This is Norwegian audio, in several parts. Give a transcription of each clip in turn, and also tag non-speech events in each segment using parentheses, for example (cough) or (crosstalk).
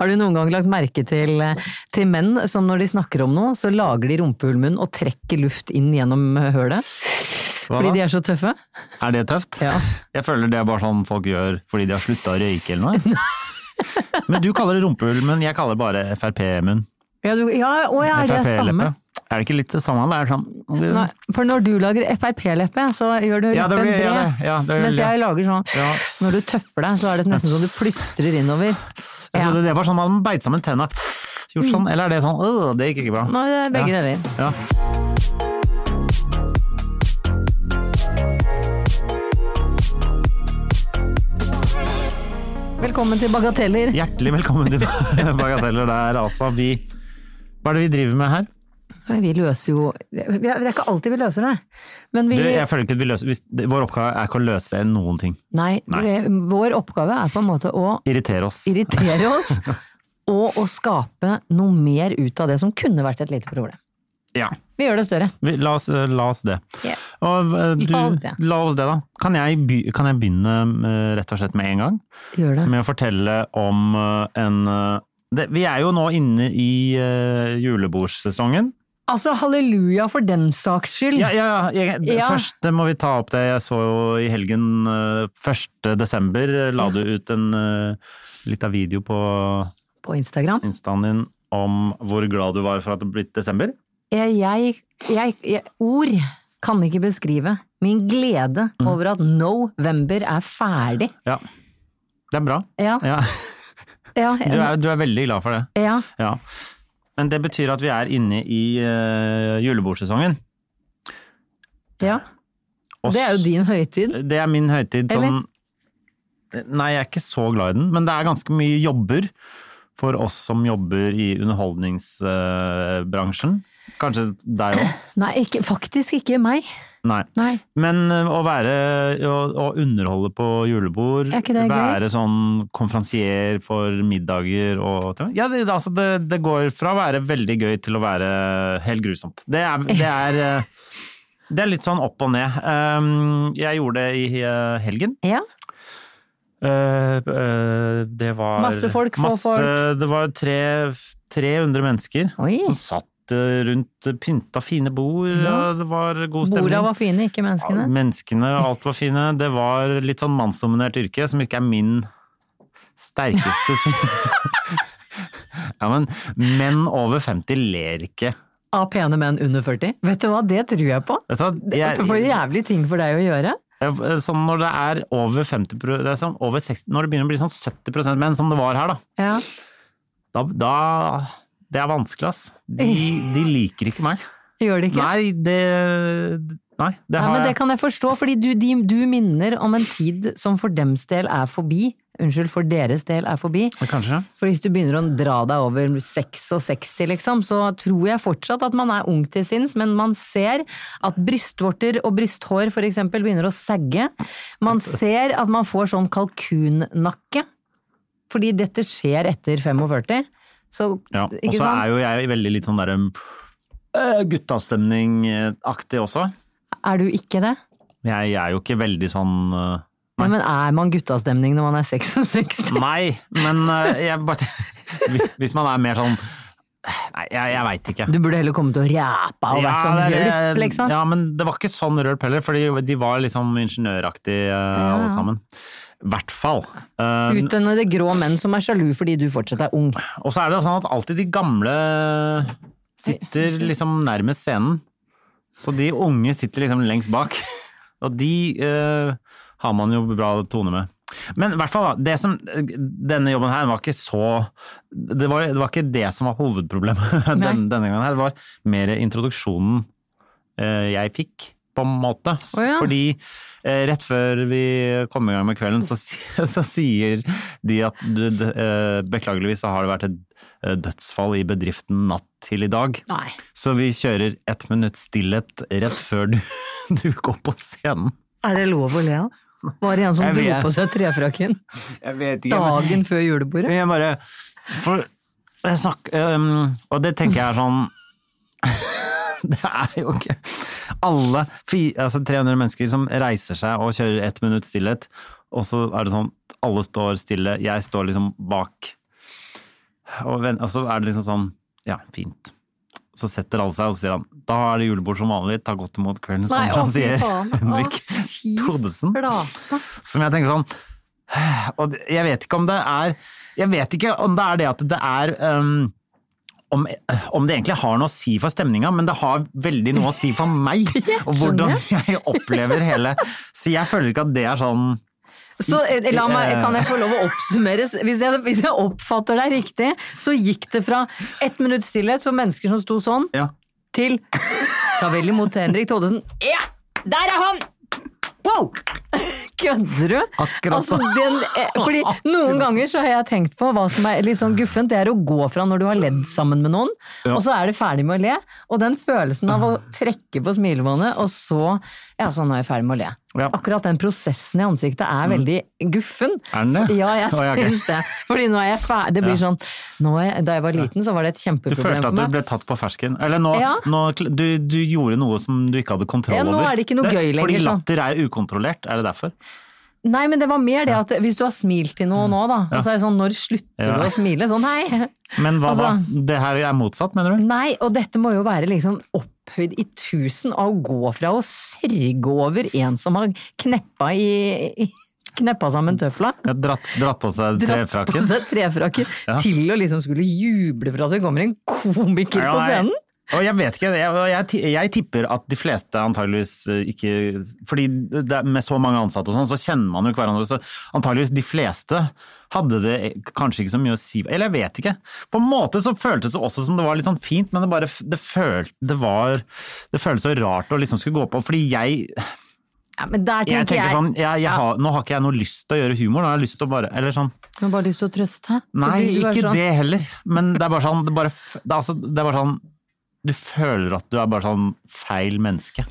Har du noen gang lagt merke til, eh, til menn som når de snakker om noe, så lager de rumpehullmunn og trekker luft inn gjennom eh, hølet? Hva Fordi da? de er så tøffe? Er det tøft? Ja. (laughs) Jeg føler det er bare sånn folk gjør fordi de har slutta å røyke eller (laughs) noe. Men du kaller det rumpehull, men jeg kaller det bare Frp-munn. Ja, du, ja, å ja, det er samme. Frp-leppe. Er det ikke litt det samme? Det er sånn Nei, for når du lager Frp-leppe, så gjør du Ja, det leppen blir- bred. ja, det- ja, det blir- mens jeg lager sånn Ja. Når du tøffer deg, så er det nesten sånn du plystrer innover. Jeg Ja. trodde det var sånn man beit sammen tenna. Gjort sånn, eller er det sånn øh, Det gikk ikke bra. Nå er det begge Ja. deler. Ja. Velkommen til Bagateller. Hjertelig velkommen til (laughs) Bagateller der, altså. Vi Hva er det vi driver med her? Vi løser jo Det er ikke alltid vi løser det. Men vi Du, jeg føler ikke at vi løser hvis, det- Vår oppgave er ikke å løse noen ting. Nei, Nei. vi- vår oppgave er på en måte å Irritere oss. irritere (laughs) oss, og å skape noe mer ut av det som kunne vært et lite problem. Ja. Vi gjør det større. Vi, la, oss, eh, la oss det. Ja. Og, eh, du, La oss det. La oss det, da. Kan jeg, by, kan jeg begynne eh, rett og slett med en gang? Gjør det. Med å fortelle om eh, en eh, det, Vi er jo nå inne i eh, julebordsesongen. Altså, halleluja for den saks skyld. Ja, ja, ja. Jeg, Ja. Først må vi ta opp det. Jeg så jo i helgen eh, 1. desember eh, la du ut en eh, lita video på På Instagram. instaen din om hvor glad du var for at det blitt desember. Jeg, Eh, jeg, jeg, jeg Ord kan ikke beskrive min glede Mm. over at November er ferdig. Ja. Det er bra. Ja, Ja. ja, Du, er, du er veldig glad for det. ja. Ja. Men det betyr at vi er inne i eh, julebordsesongen. ja. Og Det er jo din høytid. Det er min høytid sånn Nei, jeg er ikke så glad i den, men det er ganske mye jobber for oss som jobber i underholdningsbransjen. Kanskje deg òg. Nei, ikke, faktisk ikke meg. Nei. Nei. Men eh, å være å, å underholde på julebord, Er ikke det gøy? være sånn konferansier for middager og Ja, det, altså det, det går fra å være veldig gøy til å være helt grusomt. Det er, det er, eh, det er litt sånn opp og ned. Um, Jeg gjorde det i eh, helgen. Ja. Eh, eh, det var Masse folk, få masse- folk. Det var tre, 300 mennesker Oi. som satt eh, rundt eh, pynta fine bord, Ja. og det var god stemning. Borda var fine, ikke Ja, menneskene. menneskene, alt var fine. Det var litt sånn mannsdominert yrke, som ikke er min sterkeste (laughs) si- Ja, men menn over 50 ler ikke. Av pene menn under 40. Vet du hva, det tror jeg på. Vet du hva, Det er for jævlig ting for deg å gjøre. jeg- sånn når det er over 50 pro- det er sånn over 60, Når det begynner å bli sånn 70 menn, som det var her, da, Ja. da, da Det er vanskelig, ass. De, de liker ikke meg. Gjør det ikke? Nei, det Nei, det Nei, har men det jeg. kan jeg forstå, fordi du, de, du minner om en tid som for dems del er forbi. Unnskyld, for deres del er forbi. Kanskje. For hvis du begynner å dra deg over 66, liksom, så tror jeg fortsatt at man er ung til sinns, men man ser at brystvorter og brysthår for eksempel begynner å sagge. Man ser at man får sånn kalkunnakke. Fordi dette skjer etter 45. Så, Ja, og ikke så sant? er jo jeg veldig litt sånn der um, øh, guttastemning-aktig også. Er du ikke det? Jeg, jeg er jo ikke veldig sånn øh, Nei, men er man guttastemning når man er 66? Nei, men øh, jeg bare (laughs) hvis- Hvis man er mer sånn Nei, jeg, jeg veit ikke. Du burde heller kommet og ræpa og vært sånn det er det. rølp, liksom. ja, men det var ikke sånn rølp heller, for de var liksom ingeniøraktige øh, alle sammen. I hvert fall. Eh, Utdannede grå menn som er sjalu fordi du fortsatt er ung. og så er det jo sånn at alltid de gamle sitter liksom nærmest scenen. Så de unge sitter liksom lengst bak. (laughs) Og de eh, har man jo bra tone med. Men i hvert fall, da. Det som, denne jobben her var ikke så Det var, det var ikke det som var (laughs) hovedproblemet den, denne gangen her. Det var mer introduksjonen eh, jeg fikk på en måte. S- Å, ja. Fordi eh, rett før vi kom i gang med kvelden, så, si- (laughs) så sier de at du, d- eh, beklageligvis så har det vært et eh, dødsfall i bedriften natt til i dag. Nei. Så vi kjører ett minutt stillhet rett før du, (laughs) du går på scenen. Er det lov å le av? Var det en som Jeg dro vet. på seg trefrakken (laughs) Jeg vet dagen før julebordet? (laughs) Jeg bare For jeg snakker øhm, Og det tenker jeg er sånn (laughs) Det er jo ikke Alle fi- altså 300 mennesker som reiser seg og kjører ett minutt stillhet, og så er det sånn alle står stille, jeg står liksom bak. Og, ven- og så er det liksom sånn Ja, fint. Så setter alle seg, og så sier han da er det julebord som vanlig, ta godt imot kveldens Nei, å, fy konferansier. faen. Å, (laughs) Henrik fy Todesen. flate. Som jeg tenker sånn (sighs) Og det- jeg vet ikke om det er Jeg vet ikke om det er det at det er øhm, om, eh, om det egentlig har noe å si for stemninga, men det har veldig noe å si (laughs) for meg. Og hvordan (laughs) jeg opplever hele Så jeg føler ikke at det er sånn Så eh, la meg, kan jeg få lov å (laughs) oppsummere? Hvis jeg, hvis jeg oppfatter deg riktig, så gikk det fra ett minutts stillhet, så mennesker som sto sånn, ja. til Ta vel imot Henrik Thodesen. Ja! Der er han! Wow! Kødder du? Akkurat altså, sånn. den, eh, (laughs) fordi Noen ganger så har jeg tenkt på hva som er litt sånn guffent. Det er å gå fra når du har ledd sammen med noen, Ja. og så er du ferdig med å le. Og den følelsen av å Ah. trekke på smilebåndet, og så Ja, sånn er jeg ferdig med å le. Ja. Mm. Akkurat den prosessen i ansiktet er veldig guffen. Er den det? Ja, jeg Å, ja, ok. syns det. Fordi nå er jeg ferdig. Det blir sånn nå er jeg, Da jeg var liten, så var det et Du kjempeproblem følte for at du meg. ble tatt på fersken. Eller nå, Ja. nå kl- du, du gjorde noe som du ikke hadde kontroll Ja, nå over. er det ikke noe gøy lenger, Fordi sånn. latter er ukontrollert. Er det derfor? Nei, men det var mer det at hvis du har smilt til noe nå, da. Og så er det sånn, når slutter Mm. Ja. du å smile? Sånn, nei. Men hva da? Altså- Det her er motsatt, mener du? Nei, og dette må jo være liksom opphøyd i tusen av å gå fra å sørge over en som har kneppa i i- Kneppa sammen tøfla, Jeg har dratt, dratt på dratt seg på trefrakken. seg trefrakken, Ja. til å liksom skulle juble for at det kommer en komiker Ja, på jeg- scenen. Og jeg vet ikke, jeg, jeg, ti- jeg tipper at de fleste antageligvis eh, ikke Fordi det, er- med så mange ansatte og sånn, så kjenner man jo hverandre. Så antageligvis de fleste hadde det kanskje ikke så mye å si Eller jeg vet ikke. På en måte så føltes det også som det var litt sånn fint, men det bare f- Det, følt, det var Det føltes så rart å liksom skulle gå på, fordi jeg Ja, men der Jeg tenker jeg, tenker sånn jeg, jeg har, Nå har ikke jeg noe lyst til å gjøre humor, nå har jeg lyst til å bare Eller sånn Jeg har bare lyst til å trøste. For Nei, du- du er ikke sånn- det heller. Men det er bare sånn, det er bare, f- det er altså, det er bare sånn Du føler at du er bare sånn feil menneske.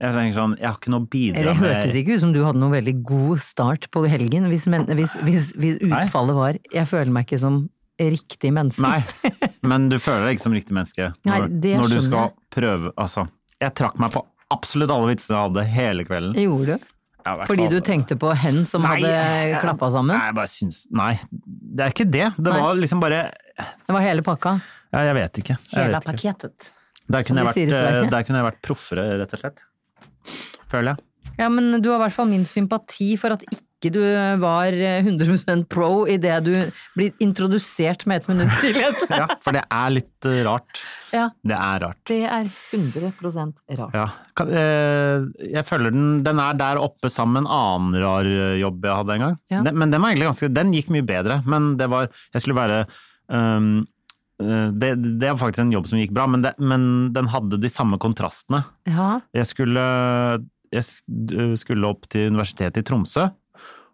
Jeg tenker sånn, jeg har ikke noe å bidra Det med. hørtes ikke ut som du hadde noen veldig god start på helgen, hvis, men, hvis, hvis, hvis utfallet var 'jeg føler meg ikke som riktig menneske'. Nei, men du føler deg ikke som riktig menneske når, Nei, det når du skjønner skal jeg. prøve Altså, jeg trakk meg på absolutt alle vitsene jeg hadde hele kvelden. Det gjorde du. Ja, i hvert Fordi fall. du tenkte på hen som Nei, hadde jeg- klappa sammen? Nei, jeg bare syns Nei, det er ikke det. Det Nei. var liksom bare Det var hele pakka? ja, Jeg vet ikke. Jeg Hele vet ikke. pakketet. Der, som kunne de jeg sier i vært, eh, Sverige. der kunne jeg vært proffere, rett og slett. Føler jeg. Ja, men du har i hvert fall min sympati for at ikke du var eh, 100 pro idet du blir introdusert med ett minutts (laughs) stillhet. Ja, for det er litt eh, rart. Ja, Det er rart. det er 100 rart. Ja. Kan, eh, jeg føler den, den er der oppe sammen med en annen rar eh, jobb jeg hadde en gang. Ja. Den, men den var egentlig ganske, den gikk mye bedre, men det var, jeg skulle være ehm, eh, det, det er faktisk en jobb som gikk bra, men, det, men den hadde de samme kontrastene. Ja, Jeg skulle, jeg sk- skulle opp til Universitetet i Tromsø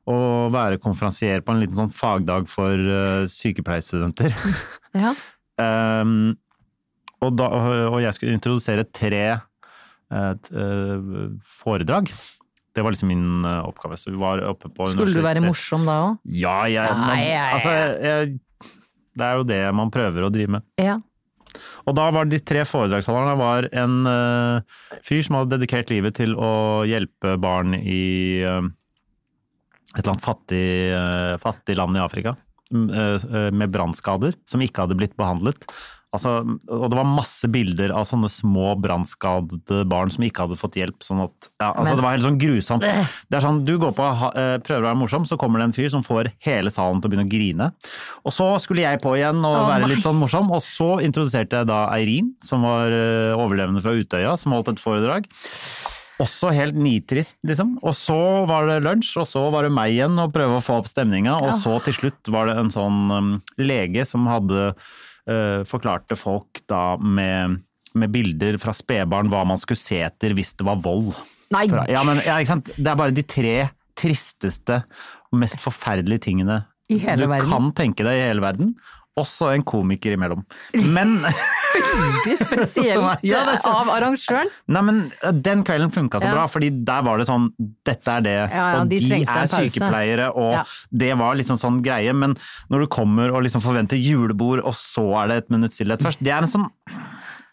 og være konferansier på en liten sånn fagdag for eh, sykepleierstudenter. ja. Ehm, og, da, og jeg skulle introdusere tre eh, t- eh, foredrag. Det var liksom min eh, oppgave. Så vi var oppe på Skulle du være universitetet. morsom da òg? Ja, jeg, man, Ja, ja, ja. Altså, jeg, det er jo det man prøver å drive med. Ja. Og da var de tre foredragsholderne var en eh, fyr som hadde dedikert livet til å hjelpe barn i eh, et eller annet fattig, eh, fattig land i Afrika mm, eh, eh, med brannskader som ikke hadde blitt behandlet. Altså, og det var masse bilder av sånne små brannskadede barn som ikke hadde fått hjelp. Sånn at, ja, altså, det var helt sånn grusomt. Det er sånn, Du går på ha- eh, prøver å være morsom, så kommer det en fyr som får hele salen til å begynne å grine. Og så skulle jeg på igjen og Å, være nei. litt sånn morsom, og så introduserte jeg da Eirin, som var eh, overlevende fra Utøya, som holdt et foredrag. Også helt nitrist, liksom. Og så var det lunsj, og så var det meg igjen og prøve å få opp stemninga. Og så til slutt var det en sånn um, lege som hadde uh, forklarte folk eh, da med med bilder fra spedbarn hva man skulle se etter hvis det var vold. Nei, Fra- Ja, men, ja, ikke sant? Det er bare de tre tristeste og mest forferdelige tingene I hele du verden. kan tenke deg i hele verden. Også en komiker imellom. Men, veldig spesielt (laughs) eh, Ja, det er kjempe- av arrangøren. nei, men eh, den kvelden funka så Ja. bra, fordi der var det sånn Dette er det, Ja, ja, og de de, trengte en er pause. sykepleiere, og Ja. det var liksom sånn greie. Men når du kommer og liksom forventer julebord, og så er det et minutts stillhet først, det er en sånn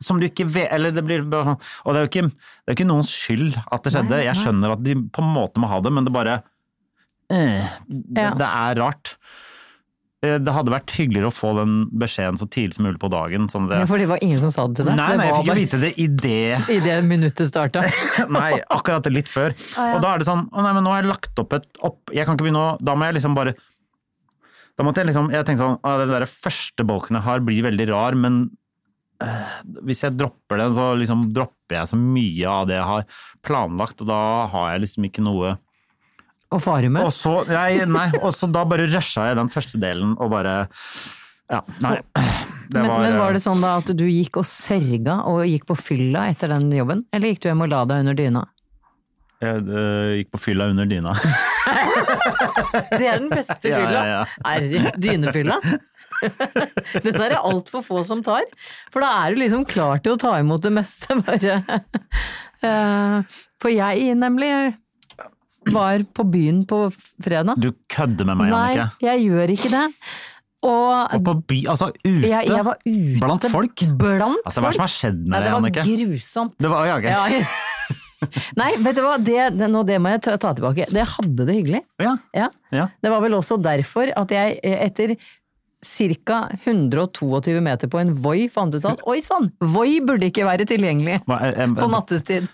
som du ikke vet Eller det blir bare sånn Og det er jo ikke, det er jo ikke noens skyld at det skjedde. Jeg skjønner at de på en måte må ha det, men det bare eh, det, Ja. det er rart. Eh, Det hadde vært hyggeligere å få den beskjeden så tidlig som mulig på dagen. Sånn at Ja, det, for det var ingen som sa det til deg. nei, nei, jeg fikk jo det vite det i det i det minuttet starta. Nei, akkurat litt før. Og da er det sånn Å nei, men nå har jeg lagt opp et opp Jeg kan ikke begynne å Da må jeg liksom bare Da måtte jeg liksom Jeg tenkte sånn Å, den derre første bolken jeg har, blir veldig rar, men øh, hvis jeg dropper den, så liksom dropper jeg så mye av det jeg har planlagt, og da har jeg liksom ikke noe Og fare med. Og så Nei, nei og så da bare rusha jeg den første delen og bare Ja, nei. Det eh, øh, men, men var det sånn da at du gikk og sørga og gikk på fylla etter den jobben? Eller gikk du hjem og la deg under dyna? Jeg øh, gikk på fylla under dyna. Det er den beste (laughs) Ja, fylla. ja, ja. Er dynefylla. (laughs) Den er det altfor få som tar. For da er du liksom klar til å ta imot det meste, bare. Eh, For jeg nemlig var på byen på fredag. Du kødder med meg, Nei, Jannicke. jeg gjør ikke det. Og Og på by, altså ute. jeg, jeg var ute Blant folk? Blant Altså, hva er det som har skjedd Nei, med deg, det var Jannicke? grusomt. Det var ja, ok. Ja. (laughs) Nei, vet du hva, det, det, nå, det må jeg ta, ta tilbake. Det hadde det hyggelig. Ja, Ja. ja. Det var vel også derfor at jeg eh, etter ca. 122 meter på en Voi fant ut at oi sann, Voi burde ikke være tilgjengelig Hva, eh, eh, på nattestid.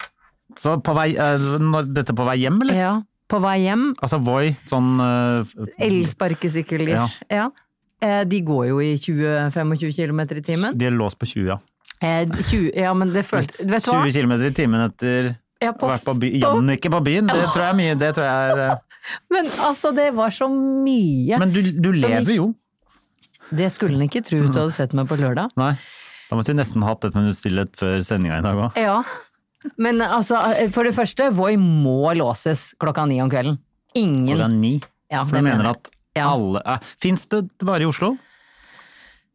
Så på vei, eh, når, dette på vei hjem, eller? Ja, på vei hjem. Altså Voi, sånn eh, f- Elsparkesykkel-ish. Ja. Eh, De går jo i 20-25 km i timen. De er låst på 20, ja. Eh, 20, ja, men det følte Vet du hva? 20 km i timen etter Ja, på- vært på by, på- Jannicke på byen, det tror jeg er mye. Det tror jeg er, eh, Men altså, det var så mye. men du, du Som lever jo. Det skulle en ikke tro hvis du hadde sett meg på lørdag. Nei. Da måtte vi nesten hatt et minutt stillhet før sendinga i dag òg. Ja. Men altså, for det første, Voi må låses klokka ni om kvelden. Klokka Ingen. ni. Ja, For det du mener jeg. at Ja. alle eh, Fins det bare i Oslo?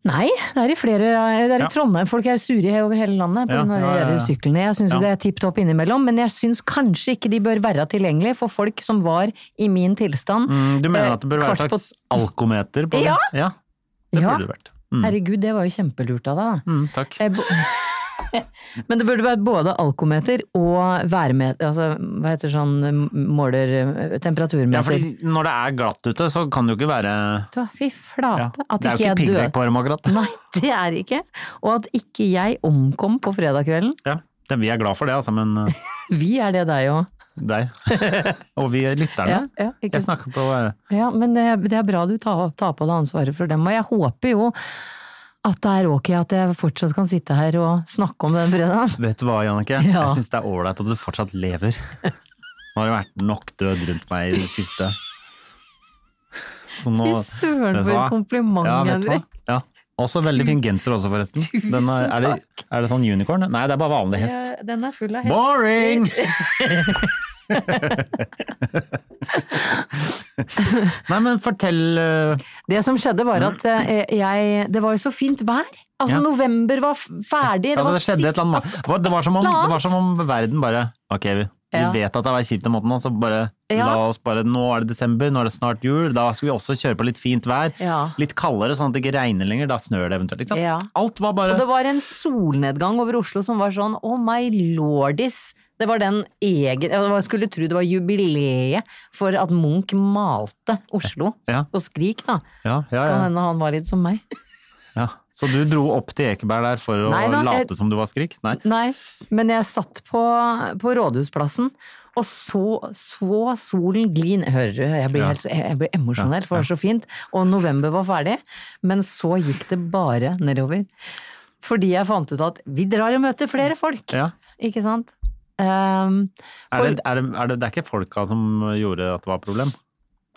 Nei, det er i flere det er i Ja. Trondheim. Folk er sure over hele landet på Ja, grunn av de ja, ja, ja. der syklene. Jeg syns Ja. det er tipp topp innimellom, men jeg syns kanskje ikke de bør være tilgjengelige for folk som var i min tilstand. Mm, Du Eh, mener at det bør være kvart et på- slags alkometer på det? Ja. ja det Ja. burde det vært. Mm, Herregud, det var jo kjempelurt av deg, da. mm, takk. Eh, bo- (laughs) Men det burde være både alkometer og værmeter, altså hva heter sånn måler eh, Ja, temperaturmeter. fordi når det er glatt ute, så kan det jo ikke være Vet du hva, Fy ja. flate, at Det er jo ikke ikke jeg døde. piggdekk på dem akkurat. Nei, (laughs) det er det ikke. Og at ikke jeg omkom på fredag kvelden. (laughs) Ja. Det, vi er glad for det, altså, men eh, Vi er det deg òg. (laughs) deg og vi lytterne. Ja, ja, ikke Jeg snakker på eh, Ja, men det, det er bra du tar, tar på deg ansvaret for dem. Og jeg håper jo at det er ok at jeg fortsatt kan sitte her og snakke om den fredagen. (laughs) Vet du hva, Jannicke? Ja. Jeg syns det er ålreit at du fortsatt lever. Nå har det vært nok død rundt meg i det siste. Så nå Fy søren Vet du for hva? et kompliment, Ja, vet du hva? Henrik. Ja. Også veldig fin genser også, forresten. Tusen Den er, er, det, er det sånn unicorn? Nei, det er bare vanlig hest. Eh, Den er full av hest. (laughs) Boring! Nei, men fortell eh, Det som skjedde var at eh, jeg Det var jo så fint vær. Altså, Mm. Ja. november var f- ferdig. ja, Det var skjedde et eller annet. sist- Det var, det, var som om, annet. det var som om verden bare Ok, vi, vi Ja. vet at det er kjipt den måten, så bare Ja. la oss bare Nå er det desember, nå er det snart jul, da skal vi også kjøre på litt fint vær. Ja. Litt kaldere, sånn at det ikke regner lenger. Da snør det eventuelt. Ikke sant? Ja. Alt var Og bare det var en solnedgang over Oslo som var sånn oh my lordis. Det var den egen Jeg skulle tro det var jubileet for at Munch malte Oslo. Ja. Og Skrik, da. Ja, ja, Kan ja, hende han var litt som meg. ja. Så du dro opp til Ekeberg der for å Nei da, jeg- late som du var skrik? Nei. Nei, men jeg satt på, på Rådhusplassen og så, så solen glin Hører du, jeg blir, Ja. helt, jeg blir emosjonell, for det var så fint. Og november var ferdig, men så gikk det bare nedover. Fordi jeg fant ut at vi drar og møter flere folk, Ja. ikke sant? Ehm, Er det, er det, er det, det er ikke folka som gjorde at det var et problem?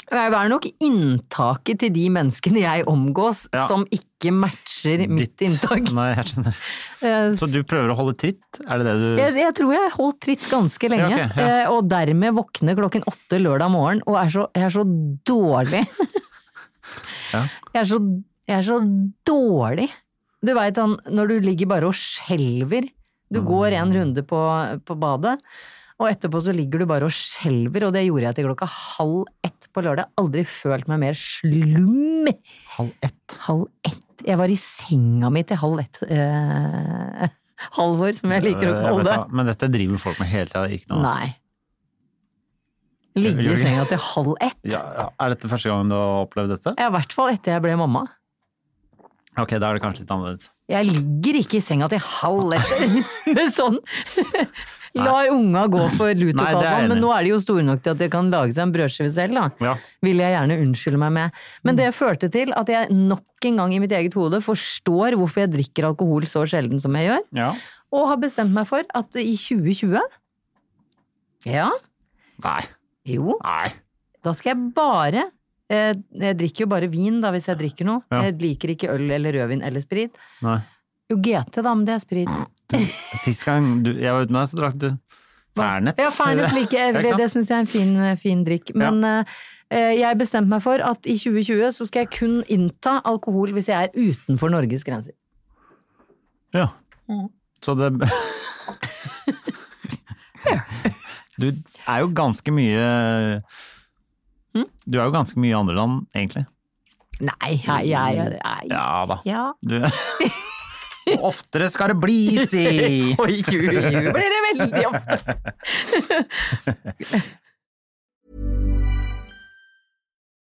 Det er nok inntaket til de menneskene jeg omgås Ja. som ikke matcher mitt inntak. Nei, jeg skjønner. Eh, Så du prøver å holde tritt? Er det det du Jeg, jeg tror jeg holdt tritt ganske lenge, Ja, ok, ja. eh, og dermed våkner klokken åtte lørdag morgen, og er så, jeg er så dårlig. (laughs) Ja. jeg, er så, jeg er så dårlig. Du veit han, når du ligger bare og skjelver. Mm. Du går en runde på, på badet, og etterpå så ligger du bare og skjelver, og det gjorde jeg til klokka halv ett på lørdag. Aldri følt meg mer slum. Halv ett? Halv ett. Jeg var i senga mi til halv ett. Eh, (laughs) Halvor, som jeg liker å Jeg kalle vet det. da, Men dette driver folk med hele tida. Ikke noe Nei. Ligge i Jørgen. senga til halv ett. Ja, ja. Er dette første gangen du har opplevd dette? Ja, I hvert fall etter jeg ble mamma. Ok, da er det kanskje litt annerledes. Jeg ligger ikke i senga til halv ett. (laughs) sånn. Lar unga gå for lut og Nei, det er jeg kaldvann, men enig i. nå er de jo store nok til at de kan lage seg en brødskive selv, da. Ja. Vil jeg gjerne unnskylde meg med. Men det førte til at jeg nok en gang i mitt eget hode forstår hvorfor jeg drikker alkohol så sjelden som jeg gjør. ja. Og har bestemt meg for at i 2020 Ja, Nei. jo. Nei. Da skal jeg bare eh, Jeg drikker jo bare vin, da, hvis jeg drikker noe. Ja. Jeg liker ikke øl eller rødvin eller sprit. Nei. Jo, GT, da, men det er sprit. Sist gang du, jeg var ute med deg, så drakk du Fernet. Ja, Fernet liker jeg. Ja, Det, (laughs) ikke sant? det syns jeg er en fin, fin drikk. Men eh, jeg bestemte meg for at i 2020 så skal jeg kun innta alkohol hvis jeg er utenfor Norges grenser. Ja. Mhm. Så det Du er jo ganske mye Hm? Du er jo ganske mye i andre land, egentlig. Nei, nei, jeg nei. Ja. Ja da. ja. (laughs) Du Oftere skal det bli, si! Oi, ju, ju blir det veldig ofte.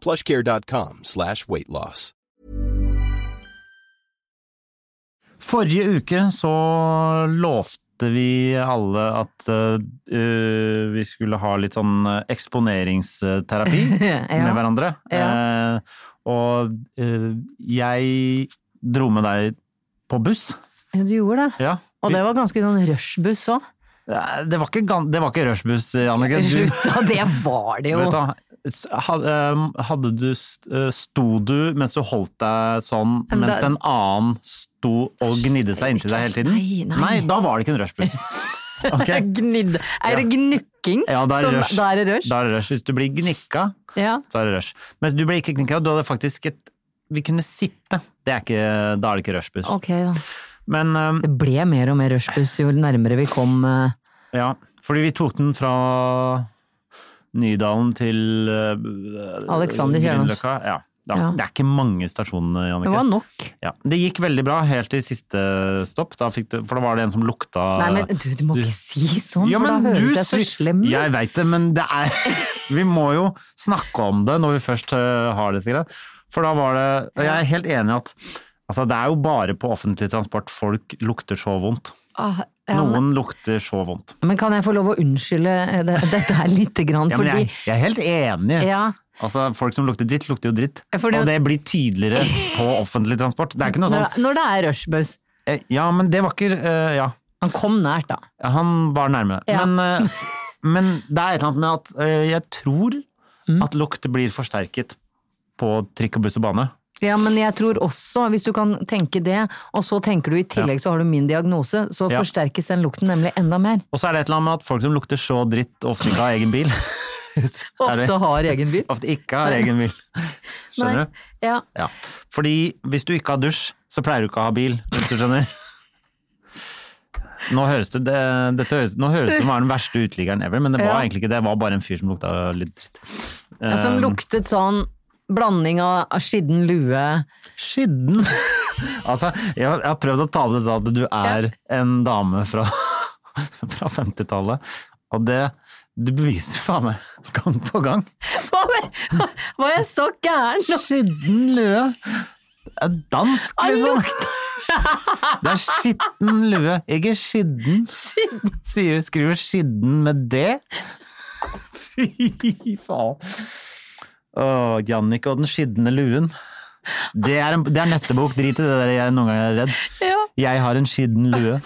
plushcare.com slash weight loss. (laughs) Forrige uke så lovte vi alle at eh, vi skulle ha litt sånn eh, (laughs) eksponeringsterapi (laughs) med Ja. hverandre. Eh, og eh, jeg dro med deg på buss. Ja, du gjorde det. Ja. Og det var ganske sånn rushbuss òg. Eh, Det var ikke, gan- det var ikke rushbuss, (laughs) Annike. Du, Slutt, da. Det var det jo. vet du hva, s- had- eh, hadde du, st- eh, sto du mens du holdt deg sånn, Men mens da- en annen sto og gnidde seg inntil deg hele tiden? Nei, nei. da var det ikke en (laughs) rushbuss. Det Ok? er Gnidd. Er det gnukking? Ja, da er det som- rush. Da er det rush. Da er det rush. Hvis du blir gnikka, Ja. så er det rush. Mens du ble ikke gnikka, du hadde faktisk et Vi kunne sitte. Det er ikke, da er det ikke rushbuss. Ok, da. Men eh, Det ble mer og mer rushbuss jo nærmere vi kom. eh. Ja, fordi vi tok den fra Nydalen til eh, Alexander Kielland. Grünerløkka. Ja. Det, er, Ja. det er ikke mange stasjonene, Det var Jannicke. nok. Ja. Det gikk veldig bra helt til siste stopp, da fikk du, for da var det en som lukta Nei, men du, du må du- ikke si sånn, Ja, for da men du høres jeg så sy- slem ut. Jeg veit det, men det er (laughs) Vi må jo snakke om det når vi først eh, har dette greiet. For da var det og Jeg er helt enig i at altså, det er jo bare på offentlig transport folk lukter så vondt. Ah, ja, men, Noen lukter så vondt. men kan jeg få lov å unnskylde eh, det, (laughs) dette her lite grann, Ja, men fordi jeg, jeg er helt enig. ja, Altså, Folk som lukter dritt, lukter jo dritt. Ja, for det- Og det blir tydeligere på offentlig transport. Det er ikke noe når, sånn det- når det er rushbuss eh, Ja, men det var ikke eh, Ja, Han kom nært, da. han var nærme. Ja. Men, eh, men det er et eller annet med at eh, jeg tror at lukt blir forsterket på trikk og buss og bane. Ja, men jeg tror også, hvis du kan tenke det, og så tenker du i tillegg så har du min diagnose, så Ja. forsterkes den lukten nemlig enda mer. Og så er det et eller annet med at folk som lukter så dritt, ofte ikke har egen bil. (laughs) Er det- Ofte har egen bil. Ofte ikke har egen (laughs) bil. Skjønner du? Ja. Ja. Fordi hvis du ikke har dusj, så pleier du ikke å ha bil, hvis du skjønner. Nå høres det, det, dette høres, nå høres det som om jeg er den verste uteliggeren ever, men det var Ja. egentlig ikke det. Det var bare en fyr som lukta litt dritt. Ja, Som Ehm. luktet sånn blanding av av skitten lue Skidden! (laughs) altså, jeg har, jeg har prøvd å tale det til at du er en dame fra, (laughs) fra 50-tallet, og det du beviser faen meg gang på gang. Hva var- Var jeg så gæren? nå? Skitten lue. Det er dansk, Han liksom. Det er skitten lue, ikke skidden. Sier, skriver skidden med det. Fy faen. Åh, Jannicke og den skidne luen. Det er, en, det er neste bok. Drit i det der jeg noen ganger er redd. Ja. Jeg har en skidden lue.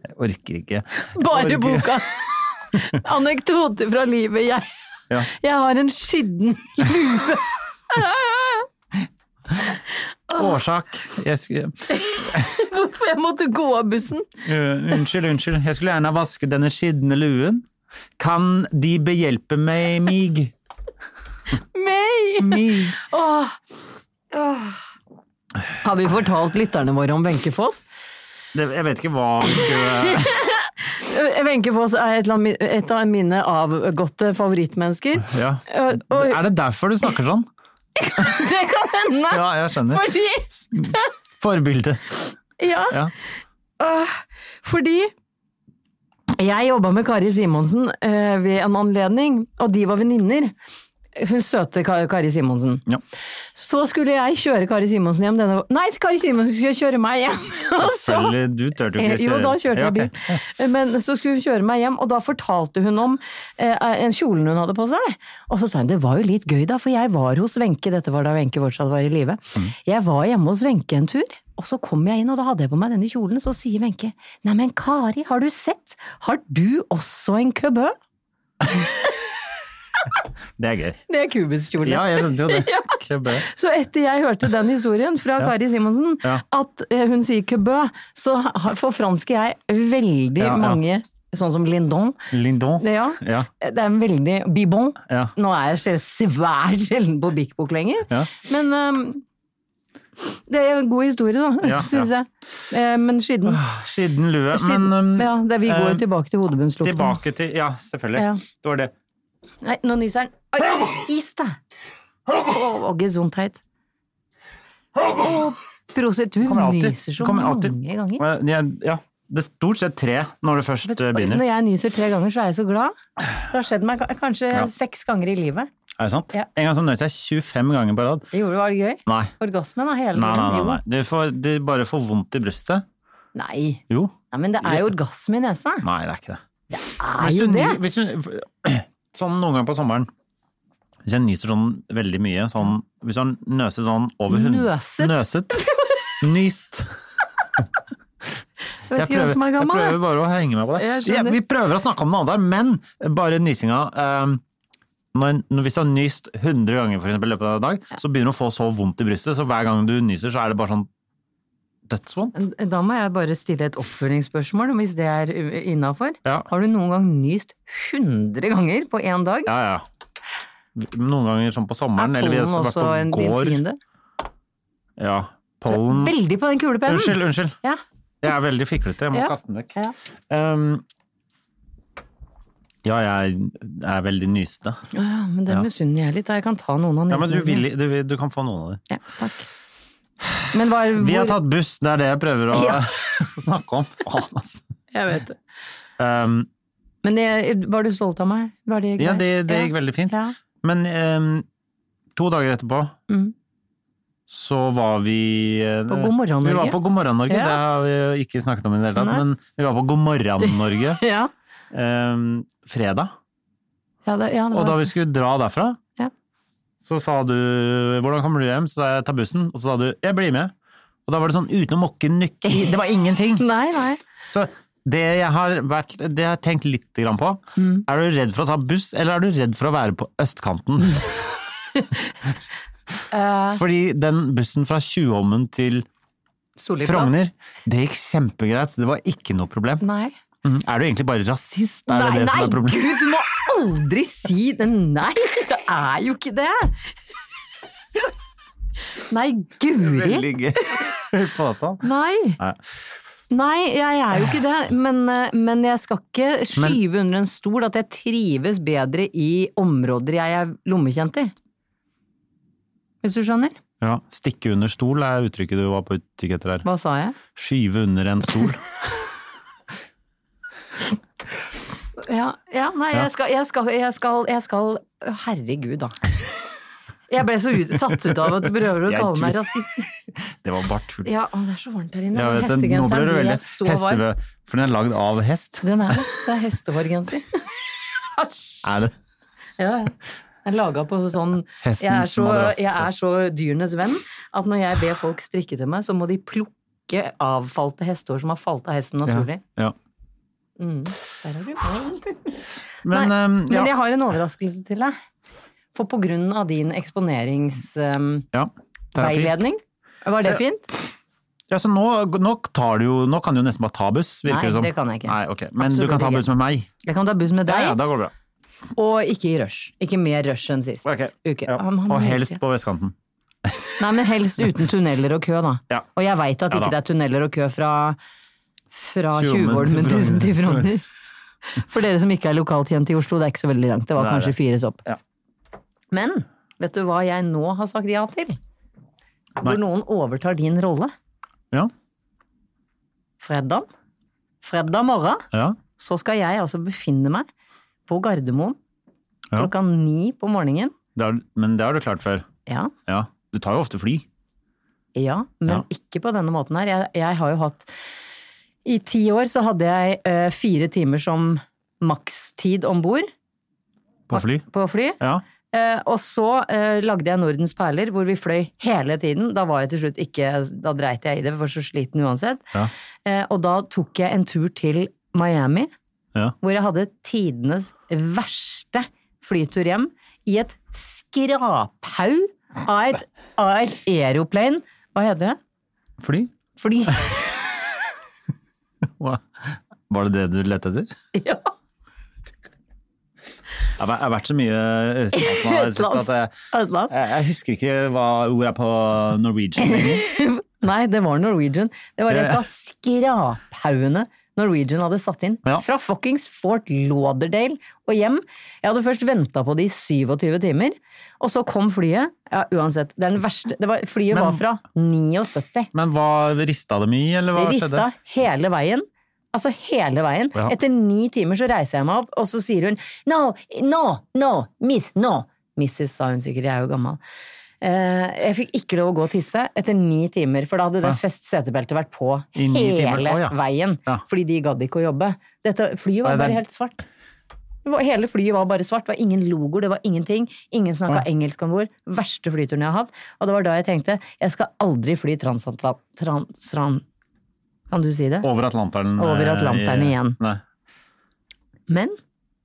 Jeg orker ikke. Jeg Bare orker- boka. Anekdoter fra livet. Jeg, Ja. jeg har en skitten Årsak. Jeg skulle... Hvorfor jeg måtte gå av bussen? Eh, unnskyld, unnskyld. Jeg skulle gjerne vaske denne skidne luen. Kan de behjelpe meg, mig? Meg! mig? Åh. Åh. Har vi fortalt lytterne våre om Wenche Foss? Det, jeg vet ikke hva vi skulle Eh, Wenche Foss er et, eller annet mi- et av mine avgåtte favorittmennesker. (laughs) ja. Eh, Og Er det derfor du snakker sånn? det kan hende! (laughs) Ja, jeg skjønner. Fordi S- Forbilde. Ja. Ja. Åh, fordi jeg jobba med Kari Simonsen eh, ved en anledning, og de var venninner. Hun søte Ka- Kari Simonsen. Ja. Så skulle jeg kjøre Kari Simonsen hjem. Denne, nei, Kari Simonsen skulle kjøre meg hjem! (laughs) Og så, Selvfølgelig, du turte jo eh, ikke jo, da kjørte jeg Ja, ok. bil. Eh, Men så skulle hun kjøre meg hjem, og da fortalte hun om eh, en kjolen hun hadde på seg. Og så sa hun det var jo litt gøy, da, for jeg var hos Wenche, dette var da Wenche fortsatt var i live. Mm. Jeg var hjemme hos Wenche en tur, og så kom jeg inn, og da hadde jeg på meg denne kjolen. Så sier Wenche nei, men Kari, har du sett? Har du også en købø? Det er gøy. Det er kubuskjole. Ja, jeg skjønte jo det. (laughs) Ja. Købbe. Så etter jeg hørte den historien fra Kari Simonsen, (laughs) Ja. at eh, hun sier købø, så har- forfransker jeg veldig Ja, ja. mange, sånn som Lindon. Lindon. Ja. Ja. Det er en veldig Bibon. ja. Nå er jeg sjel- svært sjelden på Bik Bok lenger, Ja. men øhm, det er en god historie, da, (laughs) Ja, syns jeg. Eh, men skidden, Skidden lue. skidden Men um, Ja, det, vi går jo eh, tilbake til hodebunnslukten. tilbake til Ja, selvfølgelig. Ja. Det var det. Nei, nå nyser den. Oi, is, da! Å, gesundheit. Å, Prosit, du Kommer alltid. nyser så Kommer mange alltid. ganger. Og jeg- Ja. Det er stort sett tre når det først eh, begynner. Når jeg nyser tre ganger, så er jeg så glad. Det har skjedd meg ka- kanskje Ja. seks ganger i livet. Er det sant? Ja. En gang så nøys jeg 25 ganger på rad. Det gjorde var det gøy. Nei. Orgasmen er hele Nei, nei, nei, tiden. nei. Du, får, du bare får vondt i brystet. Jo. Nei. Jo. Nei, men det er jo orgasme i nesa. Nei, det er ikke det. Er Hvis jo du det. ny- Hvis du, (clears throat) sånn noen ganger på sommeren, hvis jeg nyser sånn veldig mye, sånn, hvis han nøset sånn over hund... Nøset? Nøset. Nyst. Vet ikke hvem som er jeg gammel. prøver jeg. bare å henge meg på det. Jeg skjønner. Ja, vi prøver å snakke om noe annet, her, men bare nysinga eh, når, når Hvis du har nyst 100 ganger for eksempel, i løpet av en dag, så begynner du å få så vondt i brystet, så hver gang du nyser, så er det bare sånn dødsvondt. eh, Da må jeg bare stille et oppfølgingsspørsmål, hvis det er eh, innafor. Ja. Har du noen gang nyst 100 ganger på én dag? Ja, ja. Noen ganger sånn på sommeren, er eller vi har pollen vært også en, på din gård. fiende? Ja, pollen. Veldig på den kulepennen! Unnskyld, unnskyld. Ja. Jeg er veldig fiklete, jeg må Ja. kaste den vekk. Ja. Um, ja, jeg er veldig nysete. Å ja, men det Ja. misunner jeg litt. da. Jeg kan ta noen av Ja, men du, nysene vil, sine. du, vil- du kan få noen av dem. Ja, takk. Men hva er Vi har hvor tatt buss, det er det jeg prøver å Ja. (laughs) snakke om. Faen, altså. Jeg vet det. Um, Men det, var du stolt av meg? Var det ja, greit? det, det gikk Ja. veldig fint. Ja. Men um, to dager etterpå Mm. så var vi eh, På God morgen, Vi var Norge. på God morgen Norge, Ja. det har vi jo ikke snakket om i det hele tatt. Nei. Men vi var på God (laughs) morgen Norge Ja. um, fredag. Ja, det, ja, det Og da var- vi skulle dra derfra, Ja. så sa du 'hvordan kommer du hjem?' Så sa jeg 'ta bussen', og så sa du 'jeg blir med'. Og da var det sånn uten å mokke (laughs) nykke i- Det var ingenting! Nei, nei. Så det jeg har, vært, det jeg har tenkt litt grann på, Mm. er du redd for å ta buss, eller er du redd for å være på østkanten? Eh, (laughs) Fordi den bussen fra Tjuvholmen til Solli plass? Frogner, det gikk kjempegreit. Det var ikke noe problem. Nei. Mhm. Er du egentlig bare rasist? Er det det som Mm. nei, er problemet? Gud, du må aldri si det! Nei, det er jo ikke det! Nei, guri! Veldig gøy (laughs) påstand. Nei. Nei. Nei, jeg er jo ikke det, men, eh, men jeg skal ikke skyve under en stol at jeg trives bedre i områder jeg er lommekjent i. Hvis du skjønner? Ja, stikke under stol er uttrykket du var på utkikk etter der. Hva sa jeg? Skyve under en stol. Ja, ja nei, Ja. jeg skal, jeg skal, jeg skal, jeg skal Å, Herregud, (laughs) da. Jeg ble så ut, satt ut av at du prøver å Jeg kalle meg tror- rasist. Det var bare tull. Ja, å, det er så varmt her inne. Jeg vet, det. nå ble Hestegenser du blir veldig jeg så varm. hesteve... For den er lagd av hest. Den er det. Det er (laughs) hestehårgenser. Æsj! Er det? Ja, ja. Jeg er laga på sånn Hestens jeg er, så, madrass. jeg er så dyrenes venn at når jeg ber folk strikke til meg, så må de plukke avfalte hestehår som har falt av hesten naturlig. Ja. ja. Mm, der er du. Men, Nei, ehm, ja. Men jeg har en overraskelse til deg. For på grunn av din eksponeringsveiledning ja. terapi. Var det fint? Ja, så nå, nå, tar du jo, nå kan du jo nesten bare ta buss, virker Nei, det som. det kan jeg ikke. Nei, ok. Men Absolutt du kan ta ikke. buss med meg. Jeg kan ta buss med Ja, deg, ja, da går det bra. og ikke i rush. Ikke mer rush enn sist Ok. uke. Ja. Ah, men han Og må helst huske. på vestkanten. Nei, men helst uten tunneler og kø, da. Ja. Og jeg veit at Ja, da. ikke det er tunneler og kø fra, fra Tjuvholmen Tjuvholmen til til, Frogner. til Frogner. For dere som ikke er lokalt kjent i Oslo, det er ikke så veldig langt. Det var Nei, kanskje det- fire sopp. ja. Men vet du hva jeg nå har sagt ja til? Nei. Hvor noen overtar din rolle. Ja. Fredag. Fredag morgen Ja. så skal jeg altså befinne meg på Gardermoen Ja. klokka ni på morgenen. Det har, men det har du klart før. Ja. Ja. Du tar jo ofte fly. Ja, men Ja. ikke på denne måten her. Jeg, jeg har jo hatt I ti år så hadde jeg eh, fire timer som makstid om bord På fly. på fly. Ja. Eh, og så eh, lagde jeg Nordens perler, hvor vi fløy hele tiden. Da var jeg til slutt ikke Da dreit jeg i det, for jeg var så sliten uansett. Ja. Eh, og da tok jeg en tur til Miami, Ja. hvor jeg hadde tidenes verste flytur hjem i et skraphaug av et, av et aeroplane. Hva heter det? Fly? Fly. Hva? Var det det du lette etter? (laughs) Ja. Jeg har væ- jeg har vært så mye (laughs) utenlands nå, jeg synes at jeg, Utenlands. jeg, jeg husker ikke hva ordet er på norwegian. lenger. Nei, det var Norwegian. Det var Ja, et ja. av skraphaugene Norwegian hadde satt inn. Ja. Fra fuckings Fort Lauderdale og hjem. Jeg hadde først venta på det i 27 timer, og så kom flyet. Ja, uansett. Det er den verste det var, Flyet Men- var fra 79. Men hva rista dem i, eller hva skjedde? Rista hele veien. Altså hele veien. Ja. Etter ni timer så reiser jeg meg opp, og så sier hun no, no, no, miss, no. Mrs. sa hun sikkert, jeg er jo gammel. Eh, jeg fikk ikke lov å gå og tisse etter ni timer, for da hadde det fest setebeltet vært på I ni timer, hele å ja. veien. Ja. Fordi de gadd ikke å jobbe. Dette flyet var Nei, det er- bare helt svart. Det var- Hele flyet var bare svart. Det var ingen logoer, det var ingenting. Ingen snakka engelsk om bord. Verste flyturen jeg har hatt. Og det var da jeg tenkte jeg skal aldri fly transatlant... Trans, tran, kan du si det? Over Atlanteren. eh, Over Atlanteren i- igjen. Nei. Men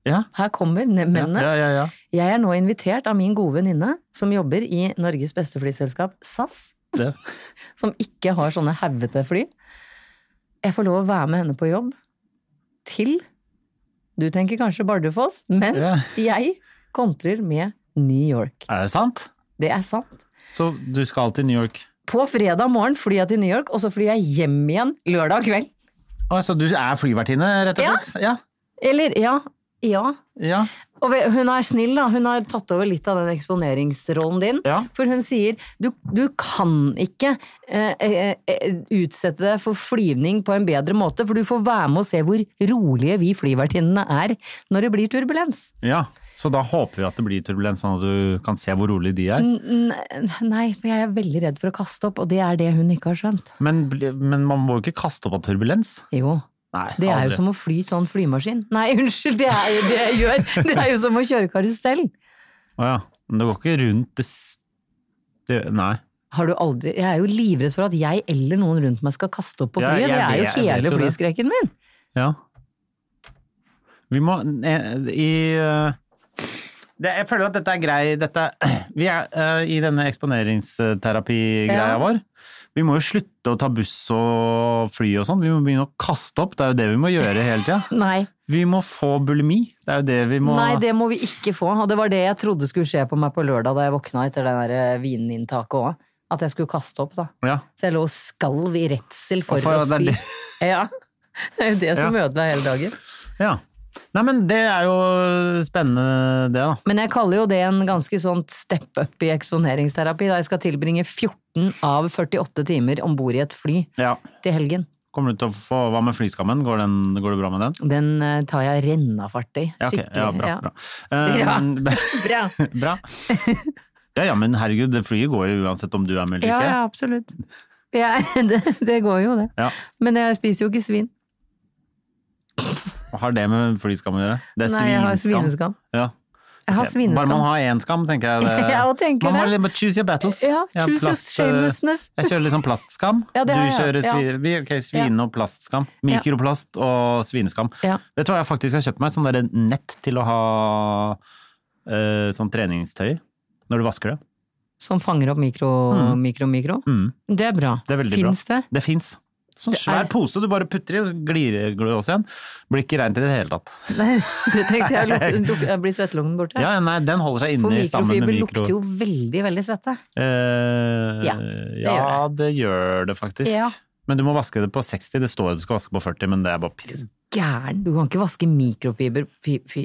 Ja. her kommer ne- mennene. Ja, ja, ja. Jeg er nå invitert av min gode venninne, som jobber i Norges beste flyselskap, SAS, Det. som ikke har sånne haugete fly. Jeg får lov å være med henne på jobb til Du tenker kanskje Bardufoss, men Ja. jeg kontrer med New York. Er det sant? Det er sant. Så du skal til New York? På fredag morgen flyr jeg til New York, og så flyr jeg hjem igjen lørdag kveld. Å, så du er flyvertinne, rett og Ja. slett? Ja. Eller, ja. Ja. Ja. Og ve- hun er snill, da. Hun har tatt over litt av den eksponeringsrollen din. Ja. For hun sier du, du kan ikke eh, eh, eh, utsette deg for flyvning på en bedre måte, for du får være med og se hvor rolige vi flyvertinnene er når det blir turbulens. ja. Så da håper vi at det blir turbulens, sånn at du kan se hvor rolig de er. N- n- Nei, for jeg er veldig redd for å kaste opp, og det er det hun ikke har skjønt. Men, bli- men man må jo ikke kaste opp av turbulens. Jo. Nei, Det er jo aldri. som å fly sånn flymaskin. Nei, (laughs) unnskyld, det er jo det jeg gjør. Det er jo som å kjøre karusell. Å ja. Men det går ikke rundt det, s- det Nei. Har du aldri Jeg er jo livredd for at jeg eller noen rundt meg skal kaste opp på Ja, flyet. jeg det er vet- jeg jo vet hele jo det. flyskrekken min. Ja. Vi må eh, I eh, det, jeg føler at dette er grei dette, (clears throat) Vi er eh, i denne eksponeringsterapi-greia Ja. vår. Vi må jo slutte å ta buss og fly og sånn. Vi må begynne å kaste opp. Det er jo det vi må gjøre hele (laughs) tida. Nei. Vi må få bulimi. Det er jo det vi må Nei, det må vi ikke få. Og det var det jeg trodde skulle skje på meg på lørdag da jeg våkna etter det der eh, vininntaket òg. At jeg skulle kaste opp, da. ja. Så jeg lå og skalv i redsel for, Og for å at spy. det (laughs) er Ja. Det er jo det som ødela hele dagen. ja. Nei, men det er jo spennende, det, da. Men jeg kaller jo det en ganske sånn step up i eksponeringsterapi, da jeg skal tilbringe 14 av 48 timer om bord i et fly Ja. til helgen. Kommer du til å få Hva med flyskammen? Går, den, går det bra med den? Den eh, tar jeg rennafart i. Ja, ok. ja bra. ja. Bra. Eh, Bra. (laughs) men- (laughs) Bra. bra. Ja, ja, men herregud, det flyet går jo uansett om du er med eller Ja, ikke. ja, absolutt. Ja, (laughs) det, det går jo, det. Ja. Men jeg spiser jo ikke svin. Hva har det med flyskam å gjøre? Det er Nei, jeg har svineskam. Ja. Jeg har Ok, Bare svineskam. man har én skam, tenker jeg. Det. (laughs) Ja, og tenker man må det. litt- choose your battles. Ja, Jeg har choose your plast, eh, shamelessness. Jeg kjører litt sånn plastskam. (laughs) Ja, det du har jeg, kjører ja. svi, vi- ok, svine- og plastskam. Mikroplast og svineskam. Ja. Vet du hva jeg faktisk har kjøpt meg? Sånn derre nett til å ha eh, sånn treningstøy når du vasker det. Som fanger opp mikro, mikro, mikro. Mm. Det er bra. Det er veldig Fins bra. det? Det fins. Sånn Det svær er- pose du bare putter i, og så glir gløs igjen. Blir ikke reint i det hele tatt. (laughs) Nei, det tenkte jeg. (laughs) luk- luk- Jeg blir svettelungen borte. Ja, nei, den holder seg For inni sammen med mikrofiber mikro... lukter jo veldig, veldig svette. Eh, Ja, ja, det det gjør gjør det, faktisk. Ja. Men du må vaske det på 60. Det står at du skal vaske på 40, men det er bare piss. Gæren! Du kan ikke vaske mikrofiber fi, fi.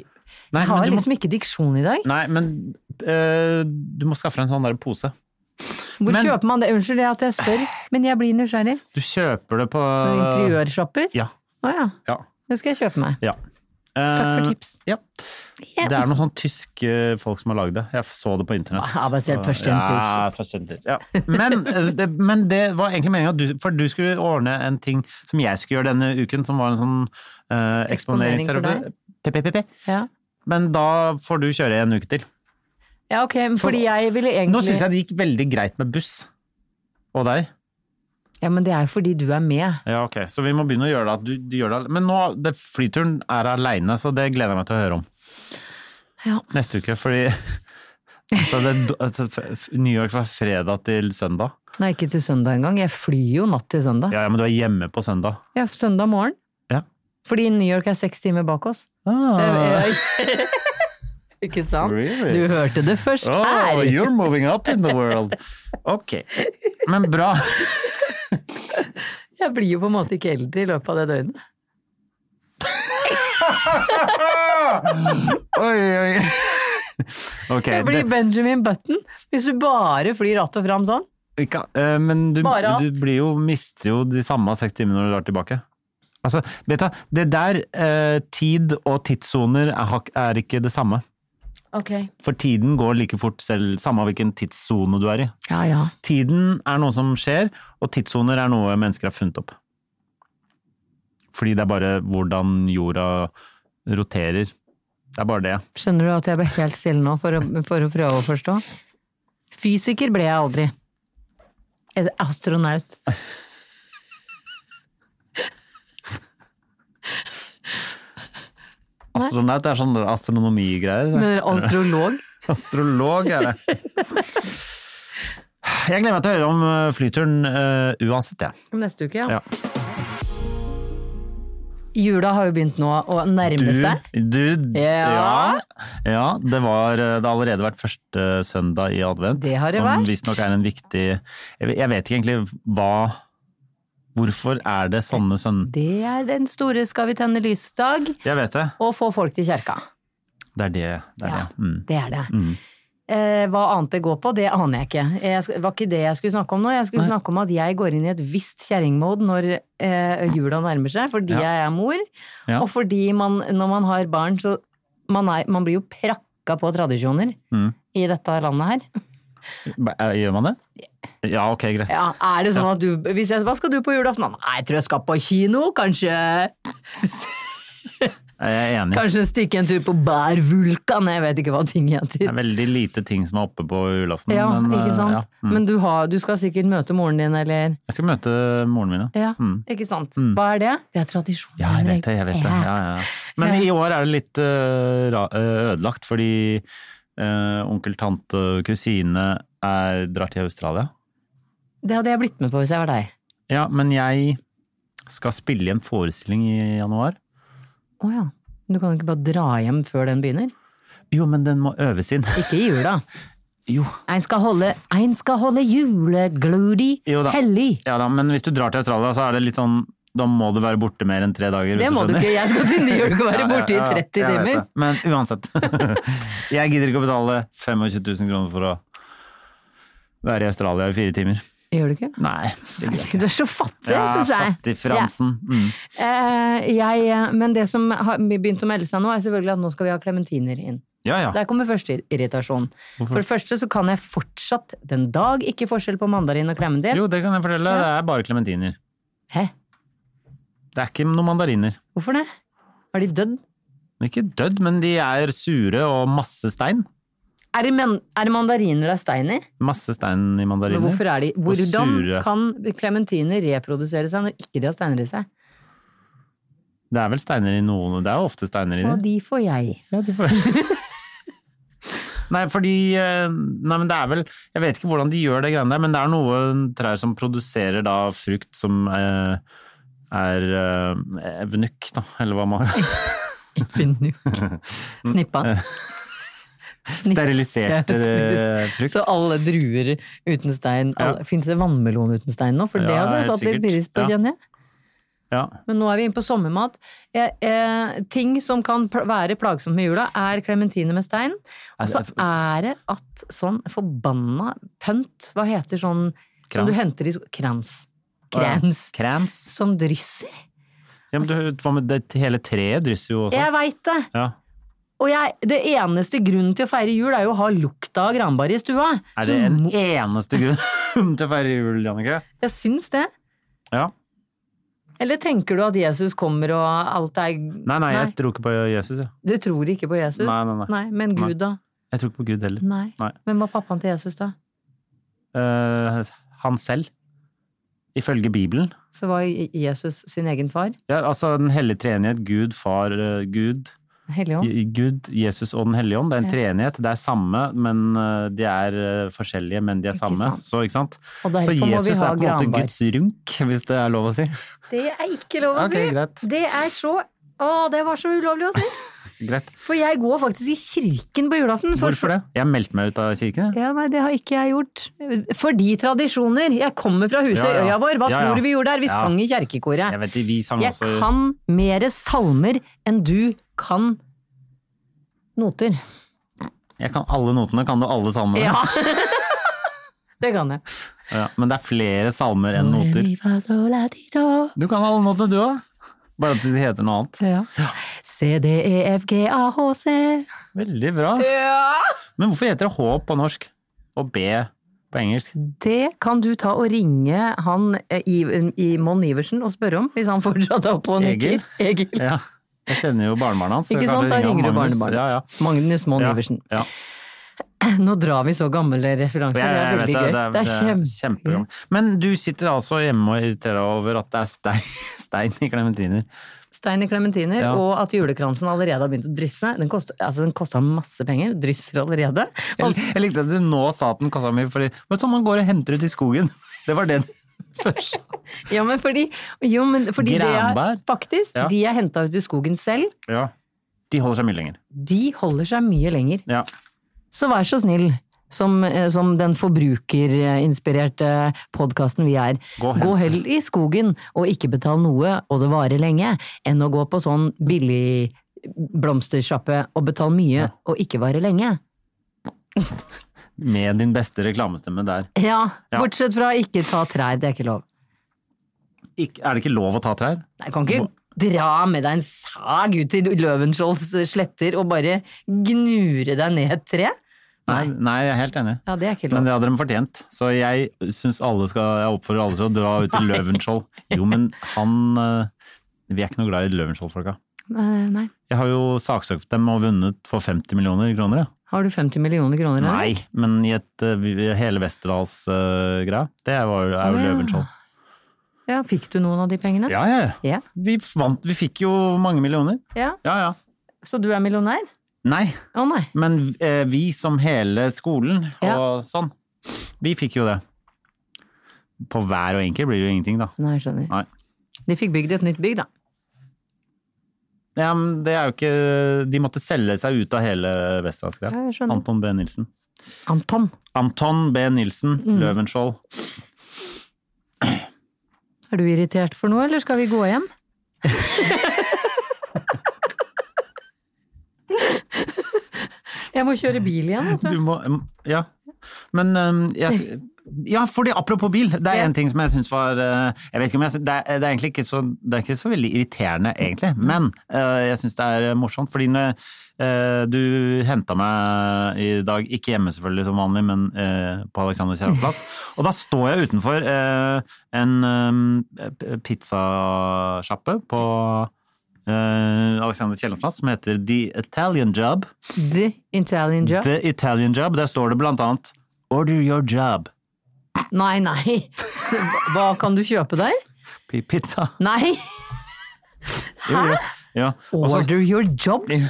Nei, Jeg har men du må- liksom ikke diksjon i dag. Nei, men eh, du må skaffe deg en sånn der pose. Hvor Men- kjøper man det? Unnskyld det at jeg (sighs) spør, men jeg blir nysgjerrig. Du kjøper det på Interiørsjapper? Ah. Ja. Å ja. ja, Det skal jeg kjøpe meg. ja. Takk Eh, for tips. Ja. Det er noen sånn tyske folk som har lagd det. Jeg så det på internett. Ah, basert på skjønnturs. Ja, forstjenturs. Ja. Men, eh, det- men det var egentlig meningen at du, for du skulle ordne en ting som jeg skulle gjøre denne uken, som var en sånn uh, Eksponering for eksponeringsterapi. PPPP. Ja. Men da får du kjøre en uke til. ja, ok, men fordi jeg ville egentlig Nå syns jeg det gikk veldig greit med buss. Og deg. Ja, men det er jo fordi du er med. Ja, ok. Så vi må begynne å gjøre det. at Du, du gjør det. al- Men nå, det, flyturen er aleine, så det gleder jeg meg til å høre om. Ja. Neste uke, fordi (laughs) altså det, altså, f- New York fra fredag til søndag. Nei, ikke til søndag engang. Jeg flyr jo natt til søndag. Ja, Ja, ja, men du er hjemme på søndag. søndag morgen. Ja. Ah. Fordi New York er seks timer bak oss. Så jeg- (laughs) jeg- ikke sant? Really? Du hørte det først Oh, her! you're moving up in the world! Ok. Men bra. Jeg blir jo på en måte ikke eldre i løpet av det døgnet. Oi, oi. Ok. Jeg blir det- Benjamin Button hvis du bare flyr att og fram sånn. Ikke, eh, men du, Bare at- du blir jo, mister jo de samme seks timene når du drar tilbake. Altså, vet du, hva, det der eh, tid og tidssoner er, hak- er ikke det samme. Ok. For tiden går like fort selv, samme hvilken tidssone du er i. Ja, ja. Tiden er noe som skjer, og tidssoner er noe mennesker har funnet opp. Fordi det er bare hvordan jorda roterer. Det er bare det. Skjønner du at jeg ble helt stille nå for å, for å prøve å forstå? Fysiker ble jeg aldri. Jeg er Astronaut. Astronaut er sånn astronomigreier. Men astrolog? (laughs) Astrolog er det. Jeg gleder meg til å høre om eh, flyturen eh, uansett, jeg. Neste uke, ja. Ja. Jula har jo begynt nå å nærme seg. du, d- Ja. ja. ja det, var, eh, det har allerede vært første søndag i advent. Det har det som vært. visstnok er en viktig Jeg ve- jeg vet ikke egentlig hva Hvorfor er det sånne søndager? Det er den store skal vi tenne lysdag Jeg vet det. og få folk til kjerka. Det er det. det, er Ja. det. Mm. Det er det. Eh, hva annet det går på, det aner jeg ikke. Jeg sk- var ikke det jeg skulle snakke om nå. Jeg skulle snakke om at jeg går inn i et visst kjerringmode når eh, jula nærmer seg, fordi Ja. jeg er mor. Ja. Og fordi man, når man har barn, så man, er, man blir jo prakka på tradisjoner Mm. i dette landet her. Ba- eh, Gjør man det? Ja, ok, greit. Ja, er det sånn at du hvis jeg, Hva skal du på julaften? Nei, jeg tror jeg skal på kino, kanskje Jeg er enig. Kanskje stikke en tur på Bær Vulkan, jeg vet ikke hva ting Det heter. er veldig lite ting som er oppe på julaften. Ja, men, eh, ikke sant? ja. Mm. Men du, har, du skal sikkert møte moren din, eller Jeg skal møte moren min, ja. Ja, Mm. ikke sant? Hva er det? Det er tradisjon. Ja, jeg vet det. eh, jeg vet det. Ja. Ja, ja. Men i år er det litt øh, ra- øh, ødelagt, fordi eh, onkel, tante, kusine er, drar til Australia. Det hadde jeg blitt med på hvis jeg var deg. Ja, men jeg skal spille i en forestilling i januar. Å ja. Du kan jo ikke bare dra hjem før den begynner. Jo, men den må øves (laughs) inn. Ikke i jula. Jo. Ein skal holde, ein skal holde julegludy Jo da. hellig. Ja da, men hvis du drar til Australia, så er det litt sånn Da må du være borte mer enn tre dager. Det hvis må du skjønner. ikke. Jeg skal til New York og være borte i 30 jeg vet timer. det. Men uansett. (laughs) jeg gidder ikke å betale 25 000 kroner for å være i Australia i fire timer. Gjør du ikke? Nei, det gidder jeg ikke. (laughs) Du er så fattig, Ja, syns Sånn jeg. Fattigfransen. Mm. Ja. Eh, jeg, eh, men det som har begynt å melde seg nå, er selvfølgelig at nå skal vi ha klementiner inn. Ja, ja. Der kommer første irritasjon. For det første så kan jeg fortsatt den dag ikke forskjell på mandarin og klementin. Jo, det kan jeg fortelle. Det er bare klementiner. Hæ? Det er ikke noen mandariner. Hvorfor det? Har de dødd? De er ikke dødd, men de er sure og masse stein. Er det, men, er det mandariner det er stein i? Masse stein i Men mandariner. hvorfor er de Hvordan sure. kan klementiner reprodusere seg når ikke de har steiner i seg? Det er vel steiner i noen, det er jo ofte steiner i Og dem. de får jeg. Ja, de får (laughs) Nei, fordi eh, Nei, men det er vel Jeg vet ikke hvordan de gjør det greiene der, men det er noen trær som produserer da frukt som eh, er eh, evnukk, da, eller hva man Finuk. (laughs) Snippa. Eh. Snipp. Sterilisert Ja, eh, frukt. Så alle druer uten stein Ja. alle, Fins det vannmelon uten stein nå? For det Ja, hadde jeg helt satt litt sikkert. pris på, Ja. kjenner jeg. Ja. Men nå er vi inne på sommermat. Eh, eh, ting som kan pl være plagsomt med jula, er klementiner med stein. Og så Altså, jeg- er det at sånn forbanna pønt Hva heter sånn som Krans. du henter i sko- Krans. Å ja. Krans. Krans. Som drysser. Ja, men Altså- du, hva med det, hele treet drysser jo også. Jeg veit det! Ja. Og jeg, det eneste grunnen til å feire jul er jo å ha lukta av granbar i stua. Er det en eneste grunn (laughs) til å feire jul, Jannicke? Jeg syns det. Ja. Eller tenker du at Jesus kommer og alt er Nei, nei, jeg tror ikke på Jesus, jeg. Du tror ikke på Jesus? Nei, nei, nei. men Gud, da? Jeg tror ikke på Gud heller. Nei. Nei. Hvem var pappaen til Jesus, da? Eh, han selv, ifølge Bibelen. Så var Jesus sin egen far? Ja, altså Den hellige treenighet, Gud, far, eh, Gud, Helligånd? Je- Gud, Jesus og Den hellige ånd. Det er en treenighet. Det er samme, men eh, de er eh, forskjellige, men de er samme. sant. Så, ikke sant? Og Så derfor må vi Jesus ha er på en måte granbar. Guds runk, (laughs) hvis det er lov å si. Det er ikke lov å Ok, si! greit. Det er så Å, det var så ulovlig å si! Greit. For jeg går faktisk i kirken på julaften. for- Hvorfor det? Jeg meldte meg ut av kirken. jeg. Ja, nei, det har ikke jeg gjort. Fordi tradisjoner. Jeg kommer fra Husøyøya Ja, ja. vår. Hva Ja, ja. tror du vi gjorde der? Vi Ja. sang i kjerkekoret. Jeg vet, ikke, altså- vi sang Jeg også kan mere salmer enn du kan noter. Jeg kan alle notene. Kan du alle salmene? Ja! (laughs) det kan jeg. Ja, men det er flere salmer enn noter. Du kan alle notene, du òg. Bare at de heter noe annet. Ja. C, D, E, F, G, A, H, C. Veldig bra. Eh. Men hvorfor heter det H på norsk og B på engelsk? Det kan du ta og ringe han eh, i, i Mon Iversen og spørre om, hvis han fortsatt er oppe og nikker. Egil. Ja, jeg kjenner jo barnebarnet hans. så Ikke jeg kan sant? Da ringe han ringer du Magnus. barnebarnet. Ja, ja. Magnus Mon Ja, Iversen. ja. Nå drar vi så gamle referanser, det Jeg- jeg er vet veldig gøy. Det er Mm. kjempegøy. kjempegammelt. Men du sitter altså hjemme og irriterer deg over at det er stein, (laughs) stein i klementiner. Stein i klementiner, Ja. og at julekransen allerede har begynt å drysse. Den kosta altså, den koster masse penger, drysser allerede. Jeg, Og så- jeg likte at du nå sa at den kosta mye, fordi vet du, man går og henter ut i skogen. (laughs) Det var det først. (laughs) ja, men fordi, jo, men fordi det er, Granbær? faktisk, Ja. de er henta ut i skogen selv, Ja. De holder seg mye lenger. de holder seg mye lenger. Ja. Så vær så snill, som, eh, som den forbrukerinspirerte podkasten vi er, Gå hen. hell i skogen og ikke betal noe, og det varer lenge, enn å gå på sånn billig blomstersjappe og betale mye og ikke vare lenge. Med din beste reklamestemme der. Ja, Ja. bortsett fra ikke ta trær, det er ikke lov. Ikke, er det ikke lov å ta trær? Nei, kan ikke dra med deg en sag ut til Løvenskiolds sletter og bare gnure deg ned et tre. Nei. Nei, jeg er helt enig. Ja, det er ikke Men lov. det hadde de fortjent. Så jeg synes alle skal Jeg oppfordrer alle til å dra ut til Løvenskiold. Jo, men han eh, Vi er ikke noe glad i Løvenskiold-folka. Eh, Nei. Jeg har jo saksøkt dem og vunnet for 50 millioner kroner. Ja. Har du 50 millioner kroner? eller? Nei, men i et, eh, vi- hele Westerdals-greia. det var, jo- er jo Å, ja. Løvenskiold. Ja, fikk du noen av de pengene? Ja, ja. ja. Ja. Vi vant. Vi fikk jo mange millioner. Ja. Ja, ja. Så du er millionær? Nei, Å nei. men eh, vi som hele skolen og Ja. sånn, vi fikk jo det. På hver og enkel blir det jo ingenting, da. Nei, jeg skjønner. Nei. De fikk bygd et nytt bygg, da. Ja, men det er jo ikke De måtte selge seg ut av hele Ja, Vestlandsgreia. jeg skjønner. Anton B. Nilsen. Anton. Anton B. Nilsen, Mm. Løvenskiold. Er du irritert for noe, eller skal vi gå (laughs) hjem? jeg må kjøre bil igjen, vet (laughs) Du du. må Ja. Men øhm, jeg sk- Ja, fordi apropos bil, det er Ja. én ting som jeg syns var øh, Jeg vet ikke om jeg syns- det, er, det er egentlig ikke så, det er ikke så veldig irriterende, egentlig. Men øh, jeg syns det er morsomt, fordi når øh, du henta meg i dag, ikke hjemme selvfølgelig som vanlig, men øh, på Alexander Kiellands plass, og da står jeg utenfor øh, en øh, pizzasjappe på øh, Alexander Kiellands plass som heter The Italian Job. The Italian Job. The Italian Job, der står det blant annet Order your job. Nei, nei. Hva kan du kjøpe der? P- Pizza. (laughs) Nei. Jo, jo. Ja. og så- Order your job? Nei, jeg,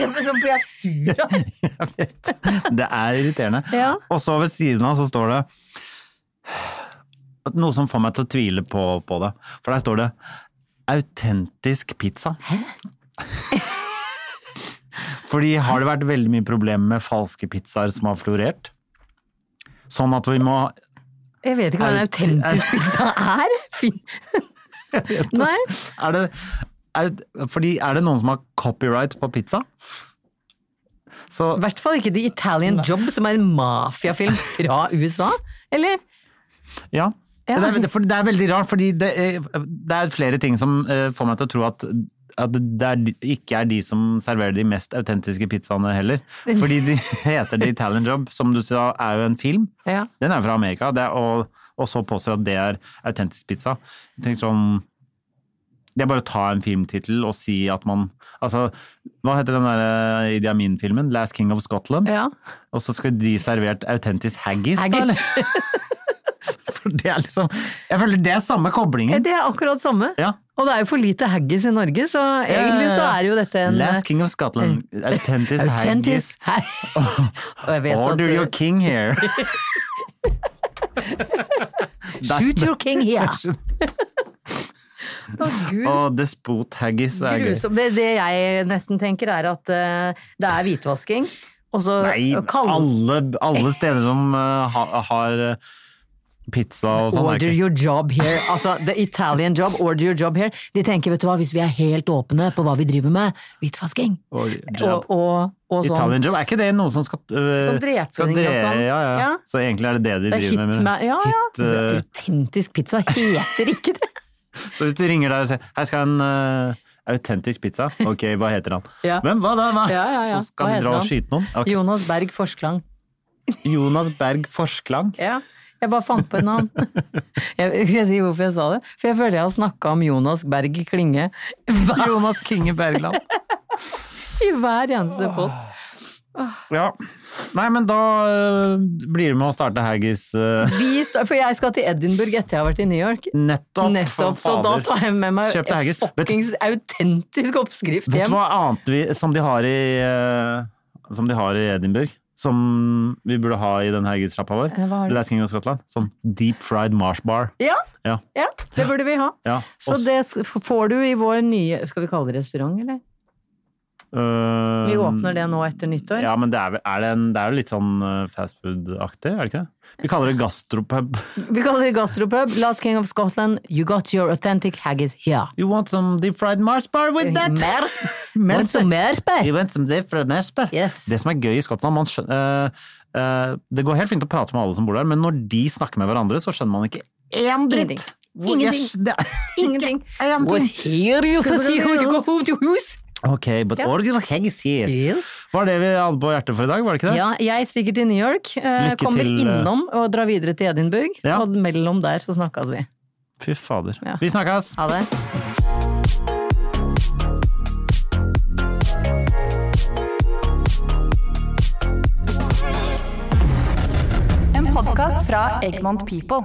jeg, så blir jeg sur av (laughs) Jeg vet. Det er irriterende. Ja. Og så ved siden av så står det noe som får meg til å tvile på, på det. For der står det autentisk pizza. (laughs) Fordi har det vært veldig mye problemer med falske pizzaer som har florert? Sånn at vi må Jeg vet ikke hva en Aut- autentisk pizza er. Fin. Nei. Er det, er, fordi er det noen som har copyright på pizza? Så I hvert fall ikke The Italian Job, som er en mafiafilm (laughs) fra USA. Eller? ja. Ja. Det, er, for det er veldig rart, fordi det er, det er flere ting som eh, får meg til å tro at, at det er, de- ikke er de som serverer de mest autentiske pizzaene heller. Fordi de heter The Italian Job, som du sa er jo en film. Ja. Den er fra Amerika, det er, og, og så påstår at det er autentisk pizza. Jeg tenker sånn Det er bare å ta en filmtittel og si at man Altså, hva heter den der eh, Idi Amin-filmen? 'Last King of Scotland'? Ja. Og så skulle de servert autentisk haggis, da, Haggis. eller? (laughs) For det er liksom Jeg føler det er samme koblingen. Eh, Det er akkurat samme. Ja. Og det er jo for lite haggis i Norge, så egentlig så er jo dette en eh, Last King of Scotland, autentisk haggis. autentisk haggis. (laughs) Og jeg vet Order at eh, your king here. Shoot (laughs) your king here! (laughs) Å, Gud. Og despot haggis er gøy. Grusom. Det, det jeg nesten tenker, er at eh, det er hvitvasking. Og så Nei, kaller- alle, alle steder som eh, ha, har eh, pizza og sånn er Order ikke your job here. (laughs) Altså, the Italian job, order your job here. De tenker, vet du hva, hvis vi er helt åpne på hva vi driver med, hvitvasking. Order job. Og, og, og sånn. Italian job, er ikke det noe som skal, eh, Sånn dreping skal dre- og sånn. Ja, ja. Ja. Så egentlig er det det de Det er hit driver med. med, ja, ja. Hit, eh, Autentisk pizza heter ikke (laughs) det. så hvis du ringer der og sier 'her skal en eh, autentisk pizza', ok, hva heter han? Ja. Hvem, hva da? Hva? Ja, ja, ja. Så skal Hva de dra heter og han? skyte noen? Ok. Jonas Berg Forsklang. Jonas Berg Forsklang. Ja, jeg bare fant på et (laughs) navn. Jeg, skal jeg si hvorfor jeg sa det? For jeg føler jeg har snakka om Jonas Berg Klinge (laughs) hver, Jonas Kinge Bergland. i hver eneste podd. Ja. Nei, men da eh, blir det med å starte Haggis eh, Vi sta- For jeg skal til Edinburgh etter jeg har vært i New York. nettopp. (laughs) Nettopp, så for da fader. tar jeg med meg Kjøp deg en haggis. Vet du- fuckings autentisk oppskrift Vet du hjem. hva annet vi, som, de har i, eh, som de har i Edinburgh? Som vi burde ha i den haggis-sjappa vår? Eh, hva har de? Last King of Scotland. Sånn deep fried marsh bar. Ja, Ja. ja, det burde vi ha. ja. Så Og s- det s- får du i vår nye Skal vi kalle det restaurant, eller? øh, Vi åpner det nå etter nyttår. Ja, men det er, vel- er, det en, det er jo litt sånn eh, fast food-aktig, er det ikke det? Vi kaller det gastropub. (laughs) Vi kaller det gastropub. Last King of Scotland, you got your authentic haggis here. You want some deep fried marsh bar Eh, with that? Mer, Mer Want some mer spær? You want some deep fried marsh bar? Yes. Det som er gøy i Skottland, man skjøn- eh, eh, det går helt fint å prate med alle som bor der, men når de snakker med hverandre, så skjønner man ikke én dritt. Ingenting. Hvor- Ingenting. yes, det er- (laughs) Ingenting. am Was thinking- here you for see who you go home to who's? Ok, but order hangs here. Var det vi hadde på hjertet for i dag, var det ikke det? Ja, jeg stikker til New York. eh, Lykke kommer til, eh. innom og drar videre til Edinburgh. Ja. Og mellom der så snakkes vi. Fy fader. Ja. Vi snakkes! Ha det. En podkast fra Egmont People.